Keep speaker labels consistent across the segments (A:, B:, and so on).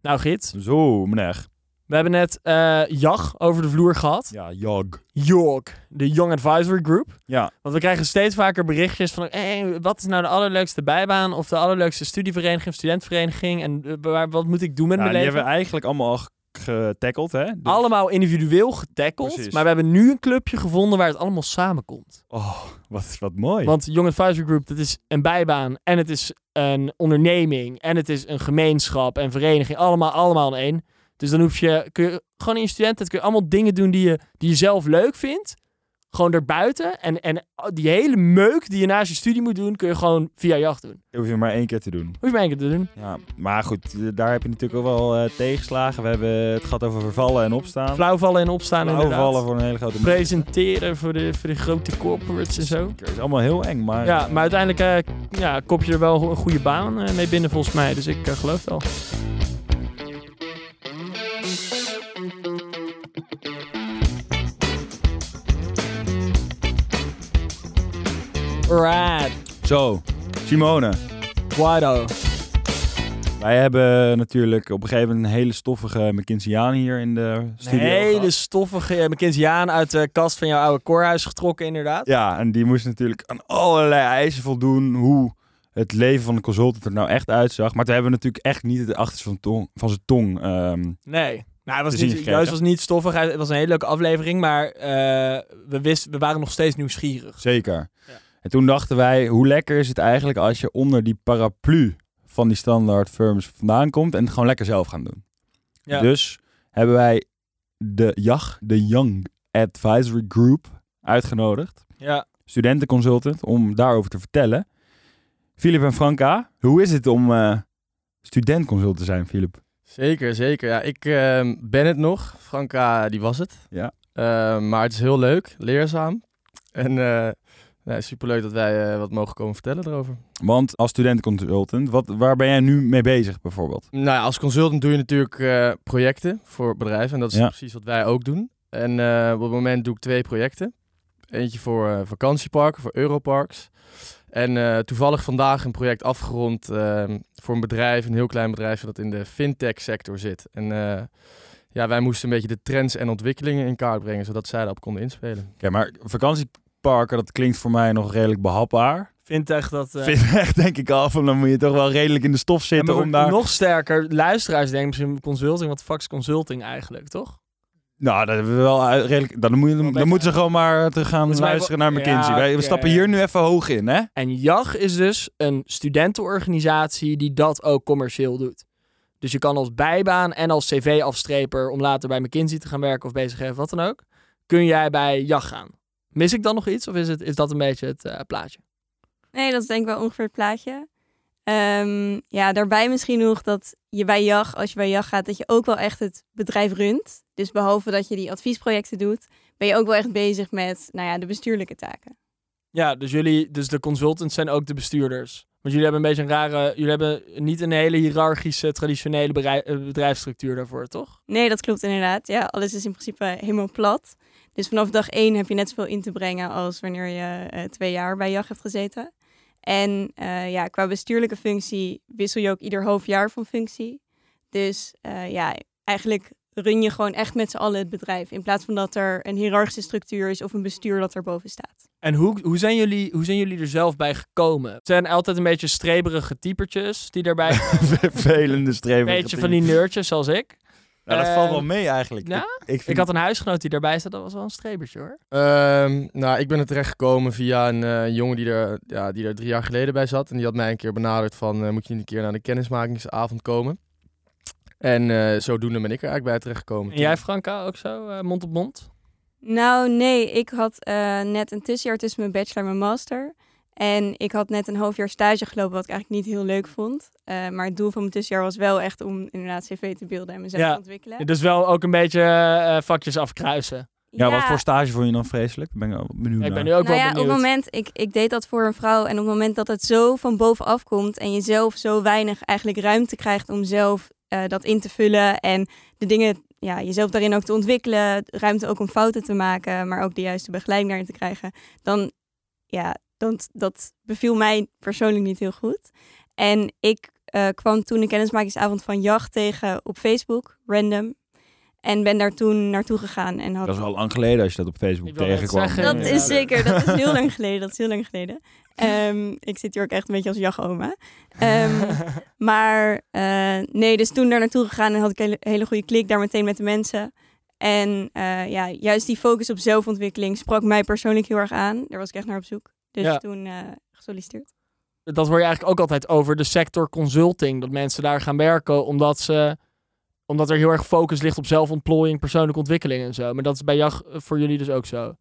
A: Nou, Git,
B: Zo, meneer.
A: we hebben net eh JAG over de vloer gehad.
B: Ja, jag.
A: York, de Young Advisory Group.
B: Ja.
A: Want we krijgen steeds vaker berichtjes van... Hey, wat is nou de allerleukste bijbaan of de allerleukste studievereniging of studentvereniging? En eh, waar, wat moet ik doen met
B: Nou,
A: mijn
B: die
A: leven?
B: hebben we eigenlijk allemaal al getackeld, hè? Dus-
A: Allemaal individueel getackeld.
B: Precies.
A: Maar we hebben nu een clubje gevonden waar het allemaal samenkomt.
B: Oh, wat, wat mooi.
A: Want Young Advisory Group, dat is een bijbaan en het is een onderneming en het is een gemeenschap en vereniging. Allemaal, allemaal in één. Dus dan hoef je, kun je gewoon in je studententijd kun je allemaal dingen doen die je, die je zelf leuk vindt. Gewoon daarbuiten. En, en die hele meuk die je naast je studie moet doen, kun je gewoon via jacht doen.
B: Dat hoef je maar één keer te doen.
A: Hoef je maar één keer te doen.
B: Ja, maar goed, eh, daar heb je natuurlijk ook wel eh, tegenslagen. We hebben het gehad over vervallen en opstaan.
A: Flauwvallen en opstaan inderdaad.
B: Overvallen voor een hele grote...
A: Presenteren voor de, voor de grote corporates en zo.
B: Het is allemaal heel eng, maar...
A: Ja, maar uiteindelijk eh, ja, kop je er wel een goede baan eh, mee binnen volgens mij. Dus ik eh, geloof het al. Right,
B: Zo, Simone.
A: Guido.
B: Wij hebben natuurlijk op een gegeven moment een hele stoffige McKinseyaan hier in de
A: Een
B: studio.
A: hele
B: gehad.
A: stoffige eh, McKinseyaan uit de kast van jouw oude koorhuis getrokken inderdaad.
B: Ja, en die moest natuurlijk aan allerlei eisen voldoen hoe het leven van de consultant er nou echt uitzag. Maar toen hebben we natuurlijk echt niet het achterste van, tong, van zijn tong. ehm,
A: Nee. Nou, het was
B: Dus
A: niet,
B: ingekregen.
A: juist was niet stoffig. Het was een hele leuke aflevering, maar eh, we, wisten, we waren nog steeds nieuwsgierig.
B: zeker.
A: Ja.
B: En toen dachten wij, hoe lekker is het eigenlijk als je onder die paraplu van die standaard firms vandaan komt en het gewoon lekker zelf gaan doen.
A: Ja.
B: Dus hebben wij de JAG, de Young Advisory Group, uitgenodigd.
A: Ja.
B: studentenconsultant, om daarover te vertellen. Filip en Franka, hoe is het om eh studentconsultant te zijn, Filip?
C: Zeker, zeker. Ja, ik ehm, ben het nog. Franka, die was het.
B: Ja.
C: Ehm, maar het is heel leuk, leerzaam. En eh, nou, superleuk dat wij eh, wat mogen komen vertellen erover.
B: Want als studentenconsultant, wat, waar ben jij nu mee bezig bijvoorbeeld?
C: Nou ja, als consultant doe je natuurlijk eh, projecten voor bedrijven. En dat is
B: Ja.
C: precies wat wij ook doen. En eh, op het moment doe ik twee projecten. Eentje voor eh, vakantieparken, voor Europarks. En eh, toevallig vandaag een project afgerond ehm, voor een bedrijf, een heel klein bedrijf dat in de fintech sector zit. En eh, ja, wij moesten een beetje de trends en ontwikkelingen in kaart brengen, zodat zij daarop konden inspelen.
B: Ja, maar vakantieparken, dat klinkt voor mij nog redelijk behapbaar.
A: Vindt echt dat... eh,
B: Vind ik echt denk ik al van, dan moet je toch wel redelijk in de stof
A: Ja, maar
B: zitten om
A: we-
B: daar...
A: Nog sterker, luisteraars denken misschien consulting. Wat de fuck is consulting eigenlijk, toch?
B: Nou, dat hebben we wel uit- redelijk... Dan, moet je- dan,
A: beetje-
B: moeten ze gewoon maar te gaan
A: Volgens mij
B: luisteren
A: wel-
B: naar McKinsey.
A: Ja,
B: Wij, we
A: oké.
B: stappen hier nu even hoog in, hè?
A: En JAG is dus een studentenorganisatie die dat ook commercieel doet. Dus je kan als bijbaan en als cv-afstreper om later bij McKinsey te gaan werken of bezig of wat dan ook, kun jij bij JAG gaan. Mis ik dan nog iets of is, het, is dat een beetje het eh, plaatje?
D: Nee, dat is denk ik wel ongeveer het plaatje. Ehm, ja, daarbij misschien nog dat je bij JAG, als je bij JAG gaat, dat je ook wel echt het bedrijf runt. Dus behalve dat je die adviesprojecten doet, ben je ook wel echt bezig met nou ja, de bestuurlijke taken.
A: Ja, dus jullie, dus de consultants zijn ook de bestuurders. Want jullie hebben een beetje een rare, jullie hebben niet een hele hiërarchische, traditionele berij- eh, bedrijfsstructuur daarvoor, toch?
D: Nee, dat klopt inderdaad. Ja, alles is in principe helemaal plat. Dus vanaf dag één heb je net zoveel in te brengen als wanneer je eh, twee jaar bij JAG hebt gezeten. En eh, ja, qua bestuurlijke functie wissel je ook ieder half jaar van functie. Dus eh, ja, eigenlijk run je gewoon echt met z'n allen het bedrijf. In plaats van dat er een hiërarchische structuur is of een bestuur dat erboven staat.
A: En hoe, hoe, zijn jullie, hoe zijn jullie er zelf bij gekomen? Het zijn altijd een beetje streberige typertjes die daarbij...
B: Vervelende
A: een
B: streven.
A: beetje van die nerdjes zoals ik.
B: Nou, dat valt wel
A: Eh,
B: mee eigenlijk.
A: nou,
B: ik, ik,
A: Ik
B: vind-
A: had een huisgenoot die daarbij zat, dat was wel een strebertje hoor.
C: Ehm, nou, ik ben er terecht gekomen via een eh, jongen die er, ja, die er drie jaar geleden bij zat. En die had mij een keer benaderd van, eh, moet je niet een keer naar de kennismakingsavond komen? En eh, zodoende ben ik er eigenlijk bij terechtgekomen.
A: En jij Franka ook zo, eh, mond op mond?
D: Nou nee, ik had eh, net een tussenjaar tussen mijn bachelor en mijn master. En ik had net een half jaar stage gelopen, wat ik eigenlijk niet heel leuk vond. Eh, maar het doel van mijn tussenjaar was wel echt om inderdaad cv te beelden en mezelf
A: Ja.
D: te ontwikkelen.
A: Dus wel ook een beetje eh, vakjes afkruisen.
B: ja, wat voor stage vond je dan vreselijk? Ben ik wel benieuwd
A: ik ben
B: naar.
A: nu ook
D: nou
A: wel
D: ja,
A: benieuwd.
D: op het moment, ik, ik deed dat voor een vrouw. En op het moment dat het zo van bovenaf komt en je zelf zo weinig eigenlijk ruimte krijgt om zelf eh, dat in te vullen en de dingen, ja, jezelf daarin ook te ontwikkelen, ruimte ook om fouten te maken, maar ook de juiste begeleiding daarin te krijgen, dan, ja, dan, dat beviel mij persoonlijk niet heel goed. En ik eh, kwam toen de kennismakingsavond van Jacht tegen op Facebook, random. En ben daar toen naartoe gegaan. En had...
B: Dat is wel lang geleden als je dat op
A: Ik
B: Facebook
A: wou net
B: tegenkwam.
A: zeggen,
D: Dat
A: Ja.
D: is zeker, dat is heel lang geleden. Dat is heel lang geleden. Ehm, ik zit hier ook echt een beetje als jachoma. Ehm, maar eh, nee, dus toen daar naartoe gegaan en had ik een hele- hele goede klik daar meteen met de mensen. En eh, ja, juist die focus op zelfontwikkeling sprak mij persoonlijk heel erg aan. Daar was ik echt naar op zoek. Dus
A: Ja.
D: toen eh, gesolliciteerd.
A: dat hoor je eigenlijk ook altijd over de sector consulting. Dat mensen daar gaan werken omdat, ze, omdat er heel erg focus ligt op zelfontplooiing, persoonlijke ontwikkeling en zo. Maar dat is bij JAG voor jullie dus ook zo.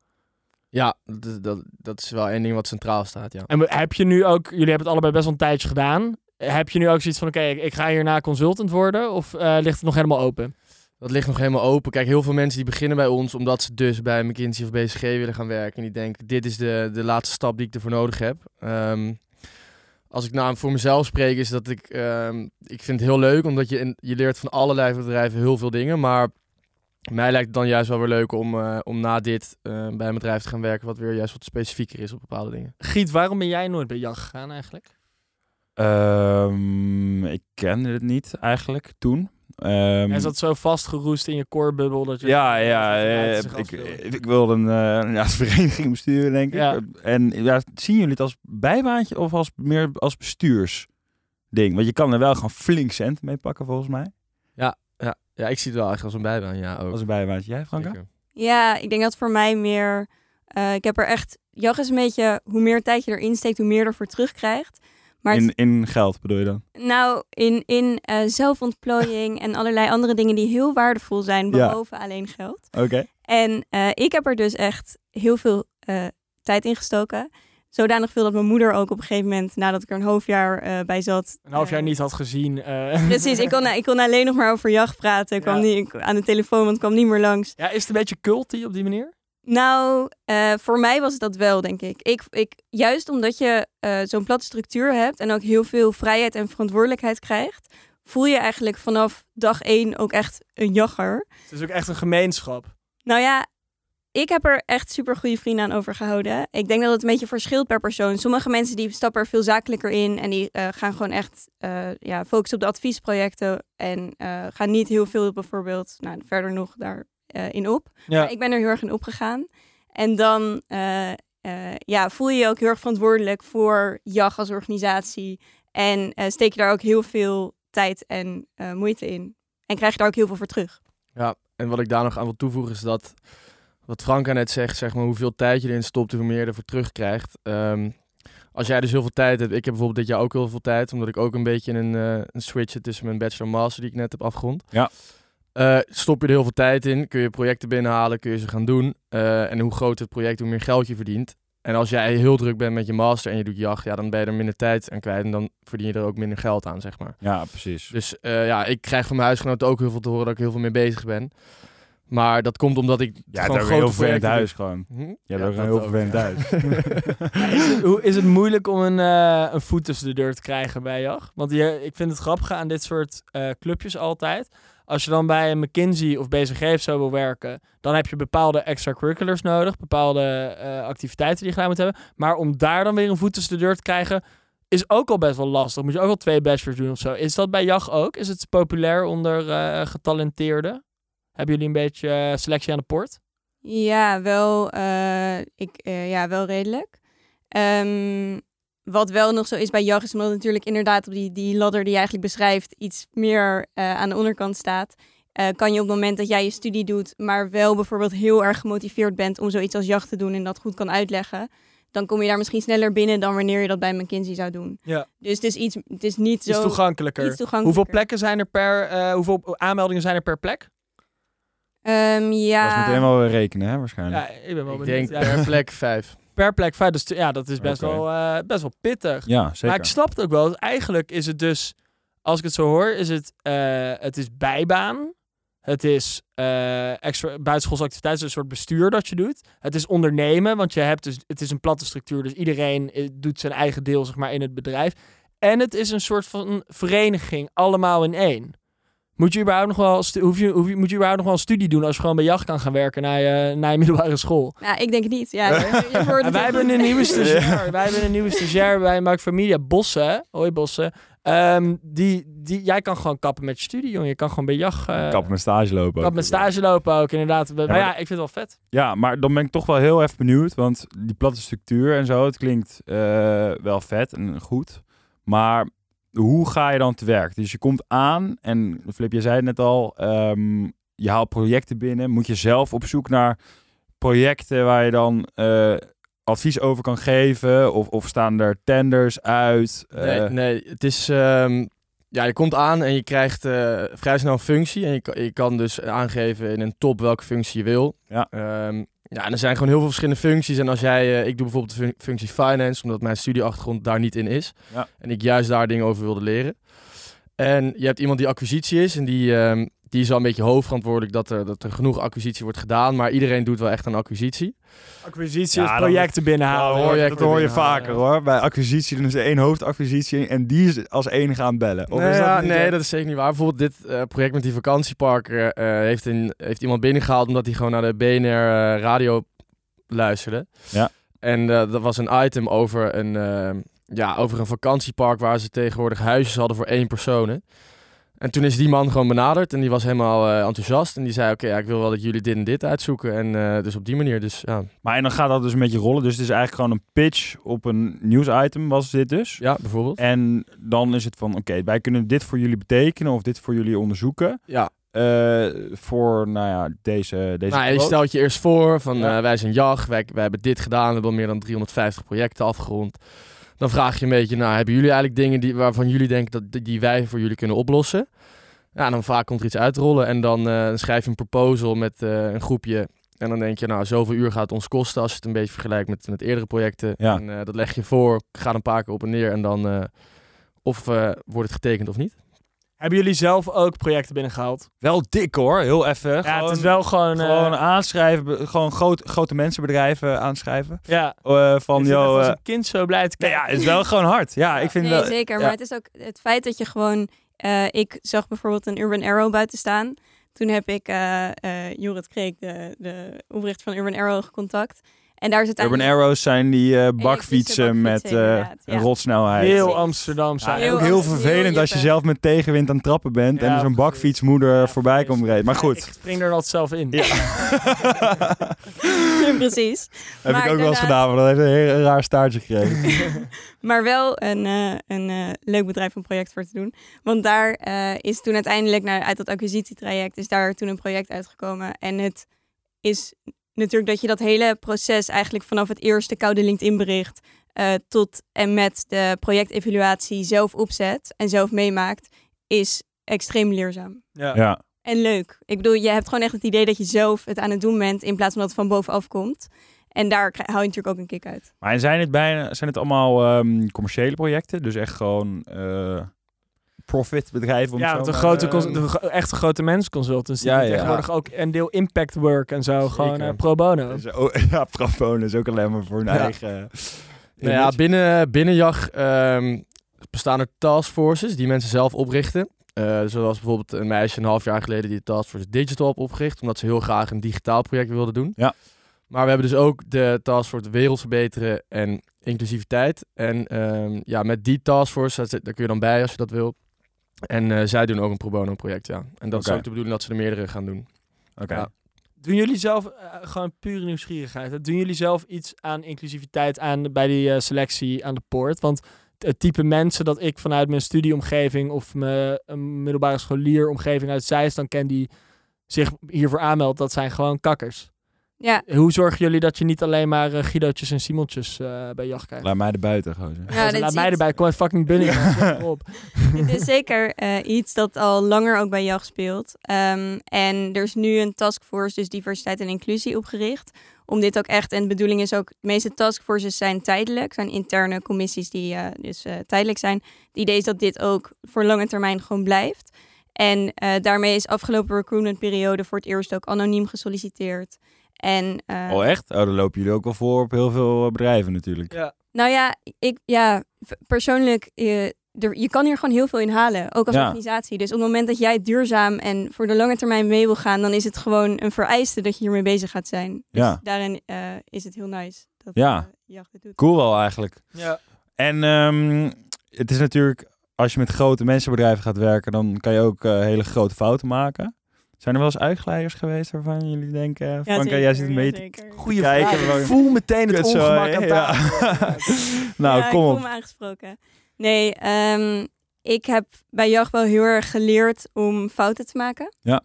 C: Ja, dat, dat, dat is wel één ding wat centraal staat, ja.
A: En heb je nu ook, jullie hebben het allebei best wel een tijdje gedaan. Heb je nu ook zoiets van, oké, ik, ik ga hierna consultant worden? Of eh, ligt het nog helemaal open?
C: Dat ligt nog helemaal open. Kijk, heel veel mensen die beginnen bij ons omdat ze dus bij McKinsey of BCG willen gaan werken. En die denken, dit is de, de laatste stap die ik ervoor nodig heb. Ehm, als ik nou voor mezelf spreek, is dat ik... ehm, ik vind het heel leuk, omdat je, in- je leert van allerlei bedrijven heel veel dingen. Maar mij lijkt het dan juist wel weer leuk om, eh, om na dit eh, bij een bedrijf te gaan werken... wat weer juist wat specifieker is op bepaalde dingen.
A: Giet, waarom ben jij nooit bij JAG gegaan eigenlijk?
B: Ehm, ik kende het niet eigenlijk toen. Ehm,
A: Hij zat zo vastgeroest in je koorbubbel dat je...
B: Ja, ja.
A: dat je
B: eh,
A: buiten zich
B: ik,
A: afspeelde.
B: ik wilde een eh, ja, vereniging besturen, denk ik.
A: Ja.
B: En ja, zien jullie het als bijbaantje of als, meer als bestuursding? Want je kan er wel gewoon flink cent mee pakken, volgens mij.
C: Ja, ja ik zie het wel eigenlijk als een bijbaan, ja. Ook.
B: Als een bijbaantje. Jij, Franka?
C: Zeker.
D: Ja, ik denk dat voor mij meer... eh, ik heb er echt... Jag is een beetje, hoe meer tijd je erin steekt, hoe meer je ervoor terugkrijgt. Maar het-
B: In, in geld bedoel je dan?
D: Nou, in, in eh, zelfontplooiing en allerlei andere dingen die heel waardevol zijn,
B: Ja.
D: behalve alleen geld.
B: Oké.
D: En eh, ik heb er dus echt heel veel eh, tijd in gestoken. Zodanig veel dat mijn moeder ook op een gegeven moment, nadat ik er een half jaar eh, bij zat.
A: Een half jaar
D: eh,
A: niet had gezien. eh.
D: Precies, ik kon, ik kon alleen nog maar over jacht praten. Ik kwam
A: Ja.
D: niet, ik- aan de telefoon, want ik kwam niet meer langs.
A: Ja, is het een beetje culty op die manier?
D: Nou, eh, voor mij was het dat wel, denk ik. ik, ik juist omdat je eh, zo'n platte structuur hebt en ook heel veel vrijheid en verantwoordelijkheid krijgt, voel je eigenlijk vanaf dag één ook echt een jagger.
A: Het is ook echt een gemeenschap.
D: Nou ja, ik heb er echt super goede vrienden aan overgehouden. Ik denk dat het een beetje verschilt per persoon. Sommige mensen die stappen er veel zakelijker in en die eh, gaan gewoon echt eh, ja, focussen op de adviesprojecten en eh, gaan niet heel veel bijvoorbeeld nou, verder nog daarin in op.
A: Ja.
D: Maar ik ben er heel erg in opgegaan. En dan eh, eh, ja, voel je je ook heel erg verantwoordelijk voor JAG als organisatie. En eh, steek je daar ook heel veel tijd en eh, moeite in. En krijg je daar ook heel veel voor terug.
C: En wat ik daar nog aan wil toevoegen is dat, wat Franka net zegt, zeg maar, hoeveel tijd je erin stopt, hoe meer je ervoor terugkrijgt. Ehm, als jij dus heel veel tijd hebt, ik heb bijvoorbeeld dit jaar ook heel veel tijd, omdat ik ook een beetje in een, eh, een switch zit tussen mijn bachelor en master die ik net heb afgerond.
B: Ja.
C: Eh, stop je er heel veel tijd in, kun je projecten binnenhalen, kun je ze gaan doen. Eh, en hoe groter het project, hoe meer geld je verdient. En als jij heel druk bent met je master en je doet jacht, ja, dan ben je er minder tijd aan kwijt en dan verdien je er ook minder geld aan, zeg maar.
B: Ja, precies.
C: Dus eh, ja, ik krijg van mijn huisgenoten ook heel veel te horen dat ik heel veel mee bezig ben. Maar dat komt omdat ik
B: Ja, het
C: gewoon
B: is ook heel
C: grote
B: vervelend
C: projecten
B: huis gewoon.
C: doe. Hm?
B: Ja,
C: Ja,
B: dat is
C: dat
B: een heel
C: ook,
B: vervelend
C: ja.
B: huis.
A: Is het, hoe, is het moeilijk om een, eh, een voet tussen de deur te krijgen bij JAG? Want je, ik vind het grappig aan dit soort eh, clubjes altijd. Als je dan bij een McKinsey of BCG of zo wil werken, dan heb je bepaalde extracurriculars nodig, bepaalde eh, activiteiten die je gedaan moet hebben. Maar om daar dan weer een voet tussen de deur te krijgen, is ook al best wel lastig. Moet je ook al twee bachelors doen of zo. Is dat bij JAG ook? Is het populair onder eh, getalenteerden? Hebben jullie een beetje eh, selectie aan de poort?
D: Ja, wel, eh, ik, eh, ja, wel redelijk. Ehm, wat wel nog zo is bij JAG is omdat het natuurlijk inderdaad op die, die ladder die je eigenlijk beschrijft iets meer eh, aan de onderkant staat. eh, kan je op het moment dat jij je studie doet, maar wel bijvoorbeeld heel erg gemotiveerd bent om zoiets als jacht te doen en dat goed kan uitleggen, dan kom je daar misschien sneller binnen dan wanneer je dat bij McKinsey zou doen.
A: Ja.
D: Dus het is, iets, het is niet
A: Is
D: zo
A: toegankelijker.
D: iets toegankelijker.
A: Hoeveel plekken zijn er per, eh, hoeveel aanmeldingen zijn er per plek?
D: Ehm,
B: Dat is
D: ja.
B: meteen wel weer rekenen, hè, waarschijnlijk.
A: Ja, ik ben wel
C: Ik
A: benieuwd.
C: denk
A: Ja,
C: per plek vijf.
A: per plek vijf, dus t- ja, dat is best,
B: Oké.
A: wel, eh, best wel pittig.
B: Ja,
A: Maar
B: zeker.
A: ik snap het ook wel. Eigenlijk is het dus, als ik het zo hoor, is het, eh, het is bijbaan. Het is eh extra buitenschoolse activiteiten, dus een soort bestuur dat je doet. Het is ondernemen, want je hebt dus, het is een platte structuur. Dus iedereen eh, doet zijn eigen deel zeg maar, in het bedrijf. En het is een soort van vereniging, allemaal in één. Moet je überhaupt nog wel, stu- hoef je, hoef je, moet je überhaupt nog wel een studie doen als je gewoon bij jacht kan gaan werken na je, na je middelbare school?
D: Nou, ik denk het niet. Ja, je- je
A: En
D: hoort het
A: wij
D: ook
A: hebben
D: niet.
A: een nieuwe stagiair.
B: Ja.
A: Wij hebben een nieuwe stagiair bij Mark Familia, Bossen. Hoi Bossen. Ehm, die, die, jij kan gewoon kappen met je studie, jongen. Je kan gewoon bij jacht. eh,
B: Kap met stage lopen.
A: kap
B: ook.
A: met stage lopen ook, inderdaad. Maar
B: maar
A: ja,
B: dat-
A: ik vind het wel vet.
B: Ja, maar dan ben ik toch wel heel even benieuwd. Want die platte structuur en zo, het klinkt eh, wel vet en goed. Maar hoe ga je dan te werk? Dus je komt aan en Flip, je zei het net al, ehm, je haalt projecten binnen. Moet je zelf op zoek naar projecten waar je dan eh, advies over kan geven? Of, of staan er tenders uit?
C: Nee,
B: Eh,
C: nee het is... ehm, ja, je komt aan en je krijgt eh, vrij snel een functie. En je, kan- je kan dus aangeven in een top welke functie je wil.
B: Ja.
C: Ehm, ja, en er zijn gewoon heel veel verschillende functies. En als jij... eh, ik doe bijvoorbeeld de fun- functie finance, omdat mijn studieachtergrond daar niet in is.
B: Ja.
C: En ik juist daar dingen over wilde leren. En je hebt iemand die acquisitie is en die... ehm, die is al een beetje hoofdverantwoordelijk dat er, dat er genoeg acquisitie wordt gedaan. Maar iedereen doet wel echt aan acquisitie.
A: Acquisities,
B: Ja, dan-
A: projecten binnenhalen.
B: Nou, hoor je- dat
C: projecten
B: hoor je
C: binnenhalen.
B: vaker hoor. Bij acquisitie doen ze één hoofdacquisitie en die is als enige aan het bellen. Of
C: nee,
B: is dat
C: ja,
B: niet
C: nee
B: zo?
C: dat is zeker niet waar. Bijvoorbeeld dit eh, project met die vakantiepark eh, eh, heeft, een, heeft iemand binnengehaald omdat hij gewoon naar de BNR eh, radio luisterde.
B: Ja.
C: En eh, dat was een item over een, eh, ja, over een vakantiepark waar ze tegenwoordig huisjes hadden voor één persoon. hè. En toen is die man gewoon benaderd en die was helemaal eh, enthousiast. En die zei, oké, ja, ik wil wel dat jullie dit en dit uitzoeken. En eh, dus op die manier, dus ja.
B: Maar en dan gaat dat dus een beetje rollen. Dus het is eigenlijk gewoon een pitch op een nieuwsitem was dit dus.
C: Ja, bijvoorbeeld.
B: En dan is het van, oké, wij kunnen dit voor jullie betekenen of dit voor jullie onderzoeken.
C: Ja,
B: Eh, voor, nou ja, deze... deze
C: Nou, je
B: quote.
C: stelt je eerst voor van
B: Ja.
C: eh, wij zijn jacht, wij, wij hebben dit gedaan, we hebben al meer dan 350 projecten afgerond. Dan vraag je een beetje, nou hebben jullie eigenlijk dingen die, waarvan jullie denken dat die- die wij voor jullie kunnen oplossen? Ja, dan vaak komt er iets uitrollen en dan eh, dan schrijf je een proposal met eh, een groepje. En dan denk je, nou zoveel uur gaat het ons kosten als je het een beetje vergelijkt met, met eerdere projecten.
B: Ja.
C: En eh, dat leg je voor, gaat een paar keer op en neer en dan eh, of eh, wordt het getekend of niet.
A: Hebben jullie zelf ook projecten binnengehaald?
B: Wel dik hoor, heel even.
A: Ja,
B: gewoon,
A: het is wel gewoon... eh,
B: Gewoon aanschrijven, be- gewoon groot, grote mensenbedrijven aanschrijven.
A: ja.
B: Eh, van,
A: Ik zit echt
B: joh...
A: als
B: eh,
A: een kind zo blij te
B: nee,
A: kijken.
B: ja, is wel gewoon hard. Ja, Ah, ik vind
D: Nee,
B: wel...
D: zeker.
B: ja.
D: Maar het is ook het feit dat je gewoon... eh, ik zag bijvoorbeeld een Urban Arrow buiten staan. Toen heb ik eh eh, Jorrit Kreek, de, de oprichter van Urban Arrow, gecontact. En daar is het
B: Urban
D: eigenlijk-
B: Arrows zijn die eh, bakfietsen
D: bakfietsen,
B: met eh
D: inderdaad, ja.
B: rotsnelheid.
A: Heel Amsterdam
B: Ja,
A: zijn.
D: Heel
B: ook heel
D: anders, heel
B: vervelend als je
D: jippen.
B: zelf met tegenwind aan het trappen bent en
A: Ja,
B: er zo'n
A: precies.
B: bakfietsmoeder
A: Ja,
B: voorbij
A: precies.
B: komt rijden. Maar
A: Ik
B: goed,
A: spring er altijd zelf in.
B: Ja.
D: Ja, precies.
B: heb
D: Maar
B: ik ook wel eens
D: inderdaad-
B: gedaan, maar dat heeft een heel raar staartje gekregen.
D: Maar wel een, eh, een eh, leuk bedrijf om project voor te doen. Want daar eh, is toen uiteindelijk naar, uit dat acquisitietraject is daar toen een project uitgekomen. En het is natuurlijk dat je dat hele proces eigenlijk vanaf het eerste koude LinkedIn bericht eh, tot en met de projectevaluatie zelf opzet en zelf meemaakt, is extreem leerzaam.
B: Ja,
D: En leuk. Ik bedoel, je hebt gewoon echt het idee dat je zelf het aan het doen bent in plaats van dat het van bovenaf komt. En daar kri- hou je natuurlijk ook een kick uit.
B: maar en zijn het, bijna, zijn het allemaal ehm, commerciële projecten? Dus echt gewoon eh profitbedrijven? om
A: Ja,
B: het
A: want
B: zo
A: een
B: maar- ehm,
A: grote, cons-
C: eh,
A: de gro- echte grote mensconsultants die
B: Ja,
A: doen
B: ja.
A: tegenwoordig ook een deel impact work en zo, gewoon
C: Zeker.
A: eh, pro bono.
B: Dus, oh, ja, profoon is ook alleen maar voor hun
C: Ja.
B: eigen...
C: Nou ja, binnen, binnen JAG ehm, bestaan er taskforces die mensen zelf oprichten. Eh zoals bijvoorbeeld een meisje een half jaar geleden die de Taskforce Digital heeft opgericht. Omdat ze heel graag een digitaal project wilde doen.
B: Ja.
C: Maar we hebben dus ook de Taskforce Wereld Verbeteren en Inclusiviteit. En ehm, ja, met die Taskforce, daar zit- daar kun je dan bij als je dat wil. En eh, zij doen ook een pro bono project, ja. En dat
B: Oké.
C: is ook de bedoeling dat ze er meerdere gaan doen.
B: Oké.
C: Ja.
A: Doen jullie zelf, eh, gewoon pure nieuwsgierigheid, hè? doen jullie zelf iets aan inclusiviteit aan, de- bij die eh, selectie aan de poort? Want het type mensen dat ik vanuit mijn studieomgeving of mijn eh, middelbare scholieromgeving uit Zeist dan ken die zich hiervoor aanmeldt, dat zijn gewoon kakkers.
D: Ja,
A: Hoe zorgen jullie dat je niet alleen maar eh, Guido'tjes en Simontjes eh, bij jacht krijgt?
B: Laat mij er buiten, gozer.
D: ja,
A: Gozer,
D: dit
A: Laat
D: is
A: mij
D: iets-
A: erbij, kom uit fucking bunny. man. Kom op.
D: Dit is zeker eh, iets dat al langer ook bij JAG speelt. Ehm, en er is nu een taskforce, dus diversiteit en inclusie, opgericht. Om dit ook echt, en de bedoeling is ook, de meeste taskforces zijn tijdelijk. zijn interne commissies die eh, dus eh, tijdelijk zijn. Het idee is dat dit ook voor lange termijn gewoon blijft. En eh, daarmee is afgelopen recruitmentperiode voor het eerst ook anoniem gesolliciteerd. En, eh,
B: Oh, echt? Oh, dan lopen jullie ook wel voor op heel veel eh, bedrijven natuurlijk.
A: Ja.
D: nou ja, ik, ja v- persoonlijk eh, er, je kan hier gewoon heel veel in halen, ook als
B: Ja.
D: organisatie. Dus op het moment dat jij duurzaam en voor de lange termijn mee wil gaan, dan is het gewoon een vereiste dat je hiermee bezig gaat zijn. Dus
B: Ja.
D: daarin eh, is het heel nice dat
B: Ja.
D: eh, Jacht dit doet.
B: Cool wel eigenlijk.
A: Ja.
B: En ehm, het is natuurlijk, als je met grote mensenbedrijven gaat werken, dan kan je ook eh, hele grote fouten maken. Zijn er wel eens uitglijders geweest waarvan jullie denken,
D: Ja,
B: Franka,
D: zeker,
B: jij zit een
D: ja,
B: beetje
D: zeker.
A: Goeie
B: Kijken
A: vraag.
B: we-
A: Ik voel meteen het
B: Kutzooi,
A: ongemak aan
B: ja.
A: tafel.
B: Nou,
D: ja, ik
B: kom
D: voel
B: op.
D: me aangesproken. Nee, ehm, ik heb bij Jacht wel heel erg geleerd om fouten te maken.
B: Ja.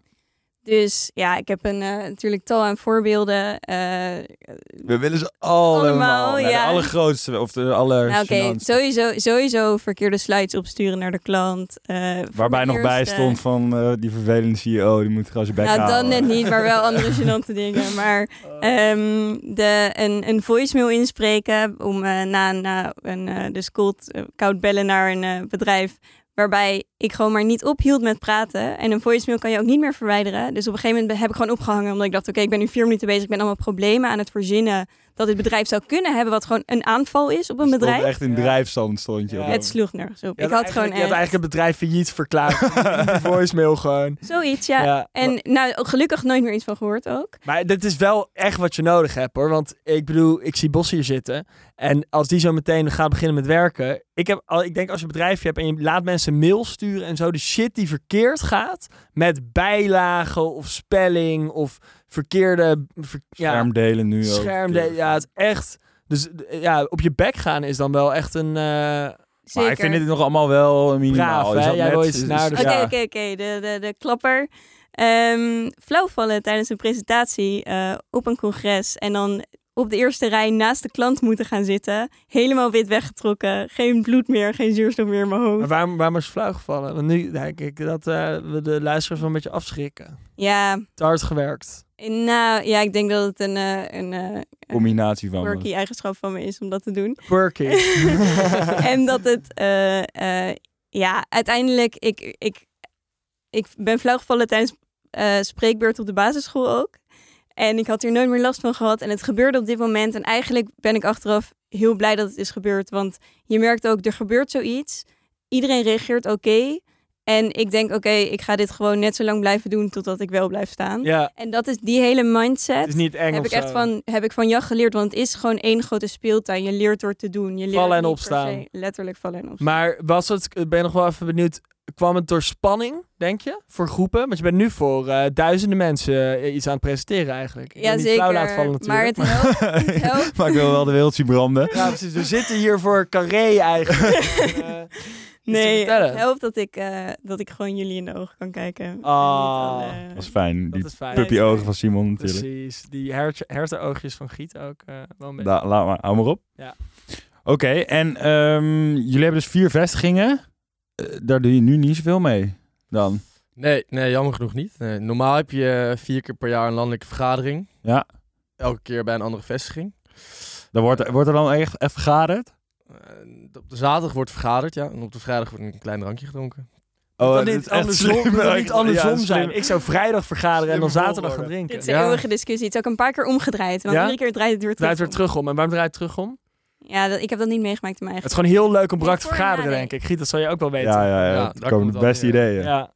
D: Dus ja, ik heb een, eh, natuurlijk tal aan voorbeelden. eh,
B: We willen ze allemaal.
D: Allemaal,
B: Nou,
D: ja.
B: De allergrootste, of de aller
D: Nou, Oké,
B: gênantste.
D: sowieso, sowieso verkeerde slides opsturen naar de klant. eh, voor
B: Waarbij
D: de
B: nog bij
D: eerste-
B: stond van eh, die vervelende CEO, die moet gewoon zijn bek
D: Nou, dan
B: houden.
D: net niet, maar wel andere gênante dingen. Maar
B: Oh.
D: ehm, de, een, een voicemail inspreken om eh, na, na een eh, dus cold, eh, koud bellen naar een eh, bedrijf... waarbij ik gewoon maar niet ophield met praten. En een voicemail kan je ook niet meer verwijderen. Dus op een gegeven moment heb ik gewoon opgehangen... omdat ik dacht, oké, ik ben nu vier minuten bezig. Ik ben allemaal problemen aan het verzinnen... dat dit bedrijf zou kunnen hebben... wat gewoon een aanval is op een
B: Stond
D: bedrijf.
B: echt in
A: Ja.
B: drijfstand stond je.
A: Ja.
B: op.
D: Het sloeg nergens op.
A: Je
D: ik had
A: eigenlijk-
D: gewoon
A: Je had
D: echt-
A: eigenlijk het bedrijf failliet verklaard. Die voicemail gewoon.
D: Zoiets, ja. En nou, ook gelukkig nooit meer iets van gehoord ook.
A: Maar dit is wel echt wat je nodig hebt hoor. Want ik bedoel, ik zie Bos hier zitten. En als die zo meteen gaat beginnen met werken. Ik, heb al, ik denk als je een bedrijfje hebt en je laat mensen mail sturen en zo. De shit die verkeerd gaat. Met bijlagen of spelling of verkeerde... ver- ja,
B: Schermdelen nu ook.
A: schermde. Ja, het is echt... Dus d- ja, op je bek gaan is dan wel echt een... eh,
D: Zeker.
B: Maar ik vind dit nog allemaal wel eh, minimaal.
A: Braaf,
B: Is
A: hè?
B: dat
A: Jij
B: net-
A: wil iets
B: is-
A: naar de-
B: is-
D: Oké,
B: ja.
D: oké, oké. De, de, de klapper. Ehm flauwvallen tijdens een presentatie eh, op een congres. En dan op de eerste rij naast de klant moeten gaan zitten. Helemaal wit weggetrokken. Geen bloed meer, geen zuurstof meer in mijn
A: Maar
D: hoofd.
A: waarom, waarom is flauw gevallen? Want nu denk ik dat eh, we de luisteraars wel een beetje afschrikken.
D: Ja,
A: Te hard gewerkt.
D: nou ja, ik denk dat het een, eh, een eh,
B: combinatie van.
D: quirky eigenschap van me is om dat te doen.
A: Quirky.
D: en dat het, eh, eh, ja, uiteindelijk, ik, ik, ik ben flauwgevallen tijdens eh, spreekbeurt op de basisschool ook. En ik had hier nooit meer last van gehad. En het gebeurde op dit moment. En eigenlijk ben ik achteraf heel blij dat het is gebeurd. Want je merkt ook, er gebeurt zoiets. Iedereen reageert oké. En ik denk, oké, ik ga dit gewoon net zo lang blijven doen totdat ik wel blijf staan.
A: ja,
D: En dat is die hele mindset.
A: het is niet eng
D: Heb
A: of
D: ik echt
A: zo.
D: van, heb ik van jou geleerd, want het is gewoon één grote speeltuin. Je leert door te doen. Je leert
A: Vallen en
D: niet per
A: opstaan.
D: se- letterlijk vallen en opstaan.
A: Maar was het, ik ben nog wel even benieuwd, kwam het door spanning, denk je? Voor groepen? Want je bent nu voor eh, duizenden mensen eh, iets aan het presenteren eigenlijk. Ik wil
D: ja,
A: niet
D: zeker.
A: flauw laten vallen
D: maar
A: natuurlijk.
D: het helpt. het helpt.
B: maar ik wil wel de wereld zien branden.
A: Ja, precies. We zitten hier voor Carré eigenlijk. En, eh,
D: nee,
A: vertellen.
D: het helpt dat ik, eh, dat ik gewoon jullie in de ogen kan kijken. En niet
A: Ah,
D: alle-
B: Dat is fijn.
A: dat
B: Die
A: is fijn.
B: puppy ogen van Simon natuurlijk.
A: Precies. Die hertje- hertenoogjes van Giet ook eh, wel een beetje.
B: Da, laat maar, hou maar op.
A: Ja.
B: Oké, en ehm, jullie hebben dus vier vestigingen. Eh, daar doe je nu niet zoveel mee dan.
C: Nee, nee, jammer genoeg niet. Nee, normaal heb je eh, vier keer per jaar een landelijke vergadering.
B: Ja.
C: Elke keer bij een andere vestiging.
B: Daar wordt, wordt er dan echt even vergaderd?
C: Eh, op de zaterdag wordt vergaderd, ja. En op de vrijdag wordt een klein drankje gedronken.
A: Oh, dat
B: dit
A: niet
B: is echt
A: andersom,
B: slim.
A: dat kan niet
B: Ja,
A: andersom
B: slim.
A: zijn. Ik zou vrijdag vergaderen en dan
B: Slimme
A: zaterdag gaan
B: volgorde.
A: drinken.
D: Dit is een
C: Ja.
D: eeuwige discussie. Het is ook een paar keer omgedraaid. Want
A: Ja?
D: iedere keer draait het weer terug.
A: Draait weer
D: om.
A: terug om. En waarom draait het terug om?
D: Ja, dat, ik heb dat niet meegemaakt in mijn
A: Het
D: eigen.
A: is gewoon heel leuk om
D: Nee,
A: brak te
D: voor en
A: vergaderen,
D: nadeel.
A: denk ik. Giet, dat zal je ook wel weten.
B: Ja, ja, ja.
C: Ja,
B: er komen
C: daar komt
B: de
C: het
B: beste
C: dan weer.
B: ideeën. Ja.
A: Ja.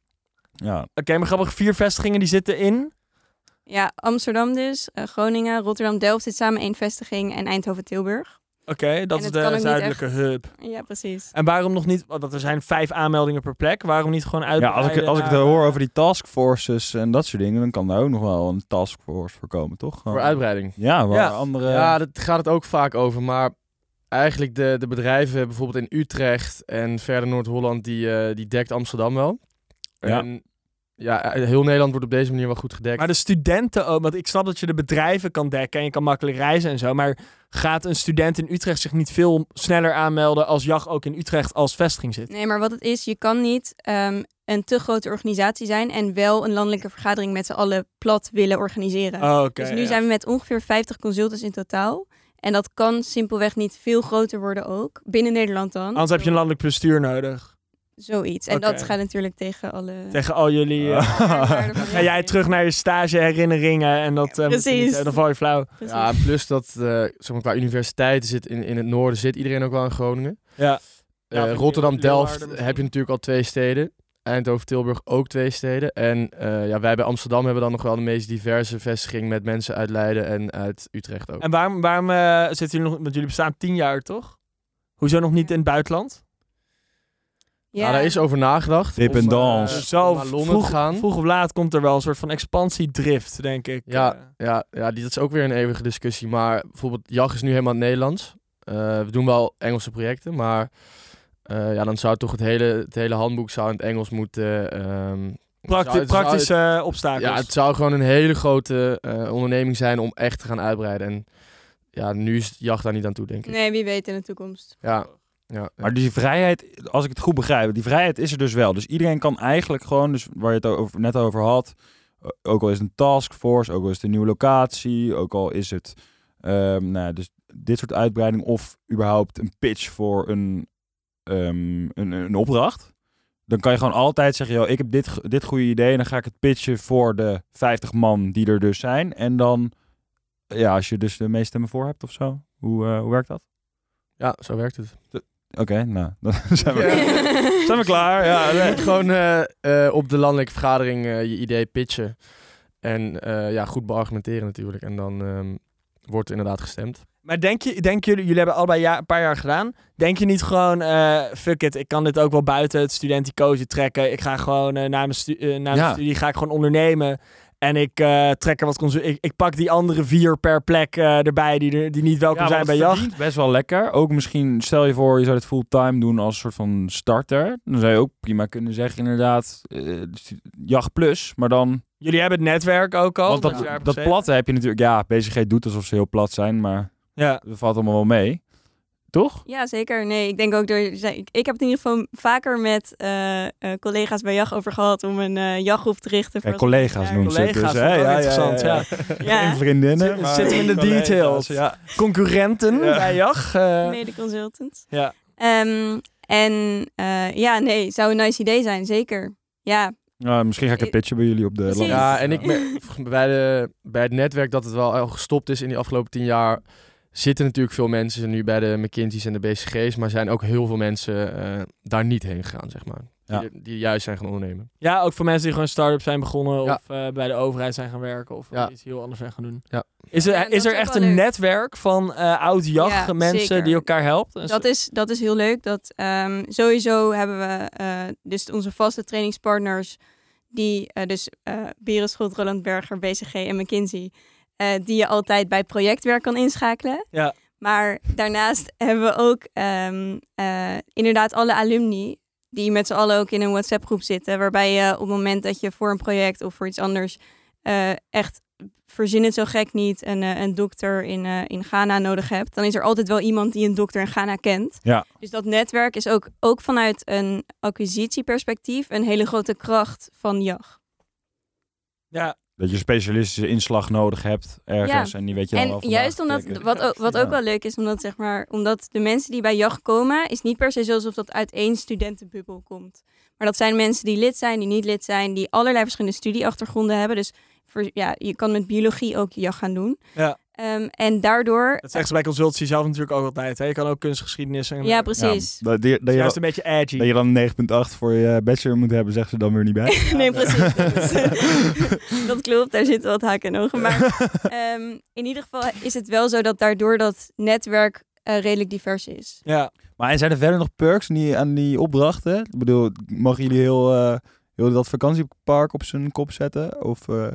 A: Oké, maar grappig. Vier vestigingen die zitten in.
D: Ja, Amsterdam dus, eh, Groningen, Rotterdam, Delft zit samen één vestiging en Eindhoven-Tilburg.
A: Oké, dat
D: En
A: is
D: het kan ook
A: de
D: niet
A: zuidelijke hub.
D: Ja, precies.
A: En waarom nog niet? Want er zijn vijf aanmeldingen per plek. Waarom niet gewoon uit?
B: Ja, als ik, als ik het hoor over die taskforces en dat soort dingen, dan kan daar ook nog wel een taskforce voor komen, toch? Gewoon-
C: Voor uitbreiding.
B: Ja, waar
A: Ja.
B: andere...
C: Ja, daar gaat het ook vaak over. Maar eigenlijk de, de bedrijven, bijvoorbeeld in Utrecht en verder Noord-Holland, die, eh, die dekt Amsterdam wel.
B: Ja.
C: En ja, eh, heel Nederland wordt op deze manier wel goed gedekt.
A: Maar de studenten ook. Want ik snap dat je de bedrijven kan dekken en je kan makkelijk reizen en zo. Maar gaat een student in Utrecht zich niet veel sneller aanmelden als JAG ook in Utrecht als vestiging zit?
D: Nee, maar wat het is, je kan niet ehm, een te grote organisatie zijn en wel een landelijke vergadering met z'n allen plat willen organiseren.
A: Oh, Oké.
D: dus nu
A: ja.
D: zijn we met ongeveer 50 consultants in totaal. En dat kan simpelweg niet veel groter worden ook, binnen Nederland dan.
A: Anders heb je een landelijk bestuur nodig.
D: Zoiets. En
A: Oké.
D: dat gaat natuurlijk tegen alle...
A: Tegen al jullie. eh,
D: Ja,
A: Ga jij terug naar je stageherinneringen en dat... eh, moet je
D: Precies.
A: niet- eh, dan val je flauw.
D: Precies.
C: Ja, en plus dat eh, zeg maar, qua universiteiten zit in, in het noorden zit iedereen ook wel in Groningen.
A: Ja. Ja, vind ik
C: Rotterdam-Delft
A: Leeuwarden
C: heb je natuurlijk al twee steden. Eindhoven-Tilburg ook twee steden. En eh, ja, wij bij Amsterdam hebben dan nog wel de meest diverse vestiging met mensen uit Leiden en uit Utrecht ook.
A: En waarom, waarom eh, zitten jullie nog... Want jullie bestaan tien jaar, toch? Hoezo nog niet in het buitenland?
D: Ja,
C: Nou, daar is over nagedacht.
B: Dependance.
C: Om, eh,
A: Zo
C: om naar Londen
A: vroeg,
C: te gaan.
A: vroeg of laat komt er wel een soort van expansiedrift, denk ik. Eh,
C: Ja, ja die, dat is ook weer een eeuwige discussie. Maar bijvoorbeeld, JAG is nu helemaal Nederlands. Eh, we doen wel Engelse projecten, maar eh, ja, dan zou toch het hele, het hele handboek zou in het Engels moeten. ehm,
A: prakti-
C: zou- het zou-
A: praktische eh, obstakels.
C: ja, het zou gewoon een hele grote eh, onderneming zijn om echt te gaan uitbreiden. En ja, nu is JAG daar niet aan toe, denk ik.
D: Nee, wie weet in de toekomst.
C: Ja, ja.
B: Maar dus die vrijheid, als ik het goed begrijp, die vrijheid is er dus wel. Dus iedereen kan eigenlijk gewoon, dus waar je het over, net over had, eh, ook al is het een taskforce, ook al is het een nieuwe locatie, ook al is het ehm, nou, ja, dus dit soort uitbreiding of überhaupt een pitch voor een, ehm, een, een opdracht. Dan kan je gewoon altijd zeggen, joh, ik heb dit, go- dit goede idee en dan ga ik het pitchen voor de 50 man die er dus zijn. En dan, ja, als je dus de meeste stemmen voor hebt of zo, hoe, eh, hoe werkt dat?
C: ja, zo werkt het.
B: Oké, nou, dan zijn we,
D: Ja.
B: zijn we klaar. Ja,
C: Je
B: Ah, nee.
C: moet gewoon eh, eh, op de landelijke vergadering eh, je idee pitchen. En eh, ja, goed beargumenteren natuurlijk. En dan ehm, wordt er inderdaad gestemd.
A: Maar denk je, denk jullie, jullie hebben allebei ja- een paar jaar gedaan. Denk je niet gewoon, eh, fuck it, ik kan dit ook wel buiten het studentenkozen trekken. Ik ga gewoon eh, na mijn, stu- eh, na mijn
B: Ja.
A: studie ga ik gewoon ondernemen. En ik eh, trek er wat consu- ik, ik pak die andere vier per plek eh, erbij die, er, die niet welkom zijn bij jacht.
B: Best wel lekker. Ook misschien, stel je voor, je zou dit fulltime doen als een soort van starter. Dan zou je ook prima kunnen zeggen, inderdaad, eh, stu- jacht plus. Maar dan,
A: Jullie hebben het netwerk ook al.
B: want
A: je daar
B: dat,
A: hebt
B: dat
A: gezeten.
B: platte heb je natuurlijk, ja, BCG doet alsof ze heel plat zijn, maar
A: Ja.
B: dat valt allemaal wel mee. Toch?
D: Ja, zeker. Nee, ik denk ook door. Ik, ik heb het in ieder geval vaker met eh, eh, collega's bij JAG over gehad om een eh jaggroep te richten. Voor
B: Ja, collega's
D: Ja,
B: noemen ze het
A: Collega's,
B: dus.
A: dat is
B: hè?
A: ook
B: Ja, ja,
A: interessant. Ja,
D: Ja.
B: Geen vriendinnen.
A: Zit-
B: maar-
A: zitten we in de
B: Collega's,
A: details.
B: Ja.
A: Concurrenten
B: Ja.
A: bij jacht. eh,
D: mede-consultants.
A: ja.
D: Ehm, en eh, ja, nee, zou een nice idee zijn, zeker. Ja,
B: Nou, misschien ga ik het pitchen bij jullie op de
D: Precies.
B: landing.
C: Ja, en ik merk volgens mij bij, de, bij het netwerk dat het wel al gestopt is in die afgelopen tien jaar. Zitten natuurlijk veel mensen nu bij de McKinsey's en de BCG's, maar zijn ook heel veel mensen eh, daar niet heen gegaan, zeg maar.
B: Ja.
C: Die, die juist zijn gaan ondernemen.
A: ja, ook voor mensen die gewoon start-up zijn begonnen
C: Ja.
A: of eh, bij de overheid zijn gaan werken of
C: Ja.
A: iets heel anders zijn gaan doen.
C: Ja.
A: Is er,
D: Ja, dat
A: is er
D: is ook
A: echt
D: wel
A: een
D: leuk.
A: netwerk van eh oud jacht
D: Ja,
A: mensen
D: zeker.
A: die elkaar helpen?
D: dat is, dat is heel leuk. Dat, ehm, sowieso hebben we eh, dus onze vaste trainingspartners, die eh, dus eh Berenschot, Roland Berger, BCG en McKinsey, eh, die je altijd bij projectwerk kan inschakelen.
A: Ja.
D: Maar daarnaast hebben we ook ehm, eh, inderdaad alle alumni die met z'n allen ook in een WhatsApp groep zitten, waarbij je op het moment dat je voor een project of voor iets anders eh, echt verzin het zo gek niet, een, eh, een dokter in, eh, in Ghana nodig hebt, dan is er altijd wel iemand die een dokter in Ghana kent.
B: Ja.
D: Dus dat netwerk is ook, ook vanuit een acquisitieperspectief een hele grote kracht van JAG.
A: Ja,
B: Dat je specialistische inslag nodig hebt ergens. En die weet je dan
D: En
B: wel vandaag
D: juist
B: te
D: omdat,
B: trekken.
D: wat, ook, wat
B: Ja.
D: ook wel leuk is, omdat, zeg maar, omdat de mensen die bij JAG komen, is niet per se zo alsof dat uit één studentenbubbel komt. Maar dat zijn mensen die lid zijn, die niet lid zijn, die allerlei verschillende studieachtergronden hebben. Dus voor, ja, je kan met biologie ook JAG gaan doen.
A: Ja.
D: Ehm, en daardoor...
A: dat zeggen ze bij consultancy zelf natuurlijk ook altijd. Hè? Je kan ook kunstgeschiedenis en
D: Ja,
A: dat
B: Ja,
D: precies.
B: dat, die- dat
A: is
B: je
A: juist een beetje edgy.
B: Dat je dan een 9.8 voor je bachelor moet hebben, zegt ze dan weer niet bij.
D: nee, precies. Dat, is- dat klopt, daar zitten wat haken en ogen. Maar ehm, in ieder geval is het wel zo dat daardoor dat netwerk eh, redelijk divers is.
A: Ja.
B: Maar en zijn er verder nog perks aan die, aan die opdrachten? Ik bedoel, mogen jullie heel, eh, heel dat vakantiepark op zijn kop zetten? Of, eh,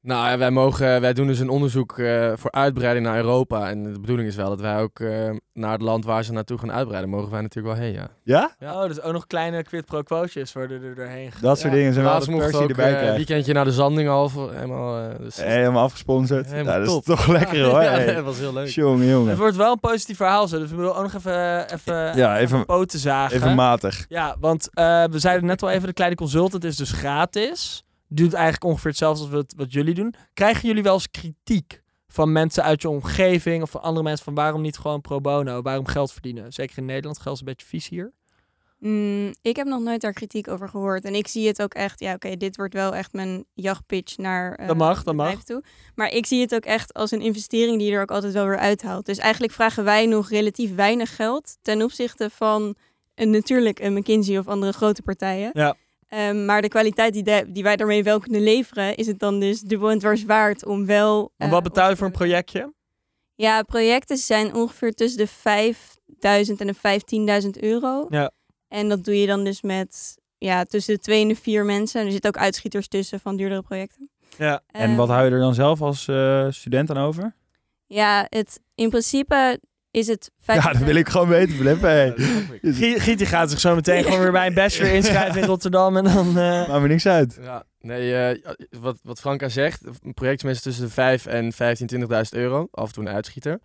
C: Nou, ja, wij, mogen, wij doen dus een onderzoek eh, voor uitbreiding naar Europa. En de bedoeling is wel dat wij ook eh, naar het land waar ze naartoe gaan uitbreiden, mogen wij natuurlijk wel heen, ja.
B: ja?
C: Ja.
A: Oh, dus ook nog kleine quid pro quo's worden er doorheen gegaan.
B: Dat soort
C: Ja,
B: dingen zijn wel
C: laatst
B: de
C: mochten
B: perks
C: we
B: die
C: ook,
B: erbij
C: eh,
B: krijgen.
C: weekendje naar de Zanding al. voor- Helemaal, eh, dus-
B: Helemaal afgesponsord.
C: Helemaal
B: ja, dat
C: top.
B: is toch lekker hoor.
C: Ja,
B: Hey.
C: dat was heel leuk.
B: Jongen, jongen.
A: Het wordt wel een positief verhaal zo, dus we willen ook nog even, eh, even,
B: Ja, even,
A: poten zagen.
B: even matig.
A: Ja, want eh, we zeiden net al even, de kleine consultant is dus gratis. Doet eigenlijk ongeveer hetzelfde als wat, wat jullie doen. Krijgen jullie wel eens kritiek van mensen uit je omgeving of van andere mensen van waarom niet gewoon pro bono, waarom geld verdienen? Zeker in Nederland, geld is een beetje vies hier.
D: Mm, ik heb nog nooit daar kritiek over gehoord. En ik zie het ook echt, ja oké, dit wordt wel echt mijn jachtpitch naar eh
A: Dat mag, dat mag.
D: bedrijven toe. Maar ik zie het ook echt als een investering die je er ook altijd wel weer uithaalt. Dus eigenlijk vragen wij nog relatief weinig geld ten opzichte van eh, natuurlijk een McKinsey of andere grote partijen.
A: Ja.
D: Ehm, maar de kwaliteit die, de- die wij daarmee wel kunnen leveren, is het dan dus dubbel en dwars waard om wel.
A: En
D: eh,
A: wat betaal je
D: op-
A: voor een projectje?
D: Ja, projecten zijn ongeveer tussen de 5000 en de 15.000 euro.
A: Ja.
D: En dat doe je dan dus met ja, tussen de twee en de vier mensen. En er zitten ook uitschieters tussen van duurdere projecten.
A: Ja.
B: En
D: Ehm,
B: wat hou je er dan zelf als eh, student aan over?
D: Ja, het, in principe is het... 50
B: gewoon weten, Flip. Hey.
A: Giet Giet, die gaat zich zo meteen gewoon weer bij een bachelor inschrijven in Rotterdam. En dan... eh,
B: Maakt me niks uit.
C: Ja, nee, eh, wat, wat Franka zegt, een project is meestal tussen de 5 en 15, 20.000 euro, af en toe een uitschieter.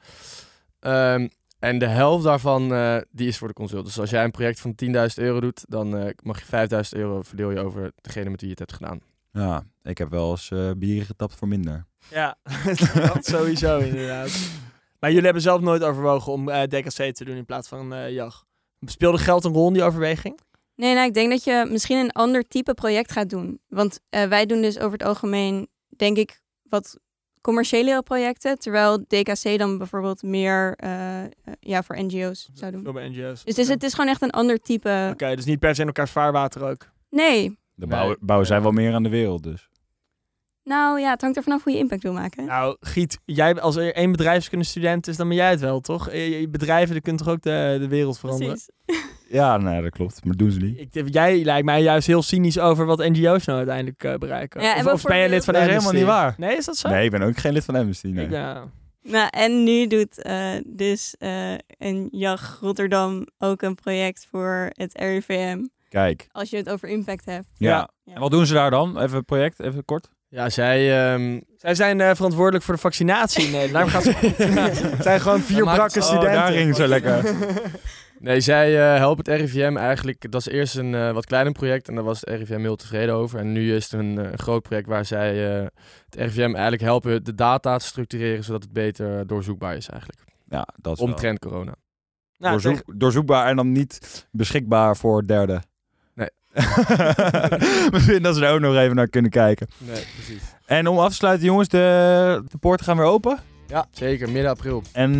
C: Ehm, en de helft daarvan, eh, die is voor de consult. Dus als jij een project van 10.000 euro doet, dan eh, mag je 5.000 euro verdeel je over degene met wie je het hebt gedaan.
B: Ja, ik heb wel eens eh bieren getapt voor minder.
A: ja, dat sowieso inderdaad. Maar jullie hebben zelf nooit overwogen om eh DKC te doen in plaats van eh JAG. Speelde geld een rol in die overweging?
D: Nee, nou, ik denk dat je misschien een ander type project gaat doen. Want eh, wij doen dus over het algemeen, denk ik, wat commerciële projecten. Terwijl DKC dan bijvoorbeeld meer eh, eh, ja, voor NGO's zou doen.
A: Door bij NGO's.
D: Dus, het is- het is gewoon echt een ander type...
A: Oké, dus niet per se in elkaars vaarwater ook.
D: Nee,
B: Daar
C: Nee.
B: bouwen, bouwen zij wel meer aan de wereld dus.
D: nou ja, het hangt er vanaf hoe je impact wil maken.
A: Nou, Giet, jij als er één bedrijfskunde student is, dan ben jij het wel, toch? Eh, je Bedrijven, die kunnen toch ook de, de wereld veranderen?
D: Precies.
B: Ja, nee, dat klopt. Maar doen ze niet.
A: Ik, denk- jij lijkt mij juist heel cynisch over wat NGO's nou uiteindelijk eh, bereiken.
D: Ja, en
A: of,
D: wat
A: of
D: voor
A: ben je
D: beeld-
A: lid van
B: Dat is
A: Amnesty?
B: helemaal niet waar.
A: Nee, is dat zo?
B: Nee, ik ben ook geen lid van Amnesty. Nee.
A: Ik, ja.
D: Nou, en nu doet eh, dus eh, een JAG Rotterdam ook een project voor het RIVM.
B: Kijk.
D: Als je het over impact hebt.
B: Ja.
A: Ja.
D: Ja.
B: En wat doen ze daar dan? Even het project, even kort.
C: Ja, zij ehm,
A: Zij zijn eh, verantwoordelijk voor de vaccinatie in Nederland. Daarom gaan ze... Het zijn gewoon vier
C: Dan maakt-
A: brakke
C: oh,
A: studenten.
B: daar ging het zo lekker.
C: Nee, zij eh, helpen het RIVM eigenlijk. Dat is eerst een eh, wat kleiner project en daar was het RIVM heel tevreden over. En nu is het een eh, groot project waar zij eh, het RIVM eigenlijk helpen de data te structureren zodat het beter doorzoekbaar is eigenlijk.
B: Ja, dat is wel
C: Omtrent corona.
A: Nou,
B: doorzoek-
A: tegen-
B: Doorzoekbaar en dan niet beschikbaar voor derden.
C: Nee.
B: Misschien dat ze er ook nog even naar kunnen kijken.
C: Nee, precies.
B: En om af te sluiten, jongens, de, de poorten gaan weer open.
C: Ja, zeker. Midden april.
B: En eh,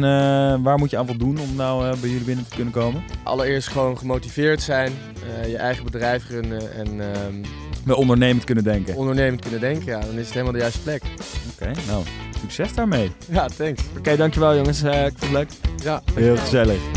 B: waar moet je aan voldoen om nou eh, bij jullie binnen te kunnen komen?
C: Allereerst gewoon gemotiveerd zijn, eh, je eigen bedrijf runnen en ehm
B: Wel ondernemend kunnen denken. Oké,
C: ondernemend kunnen denken. Ja, dan is het helemaal de juiste plek.
B: nou, succes daarmee.
C: Ja, thanks.
A: Oké, dankjewel jongens. Eh, ik vond het leuk.
C: Ja,
B: Heel gezellig.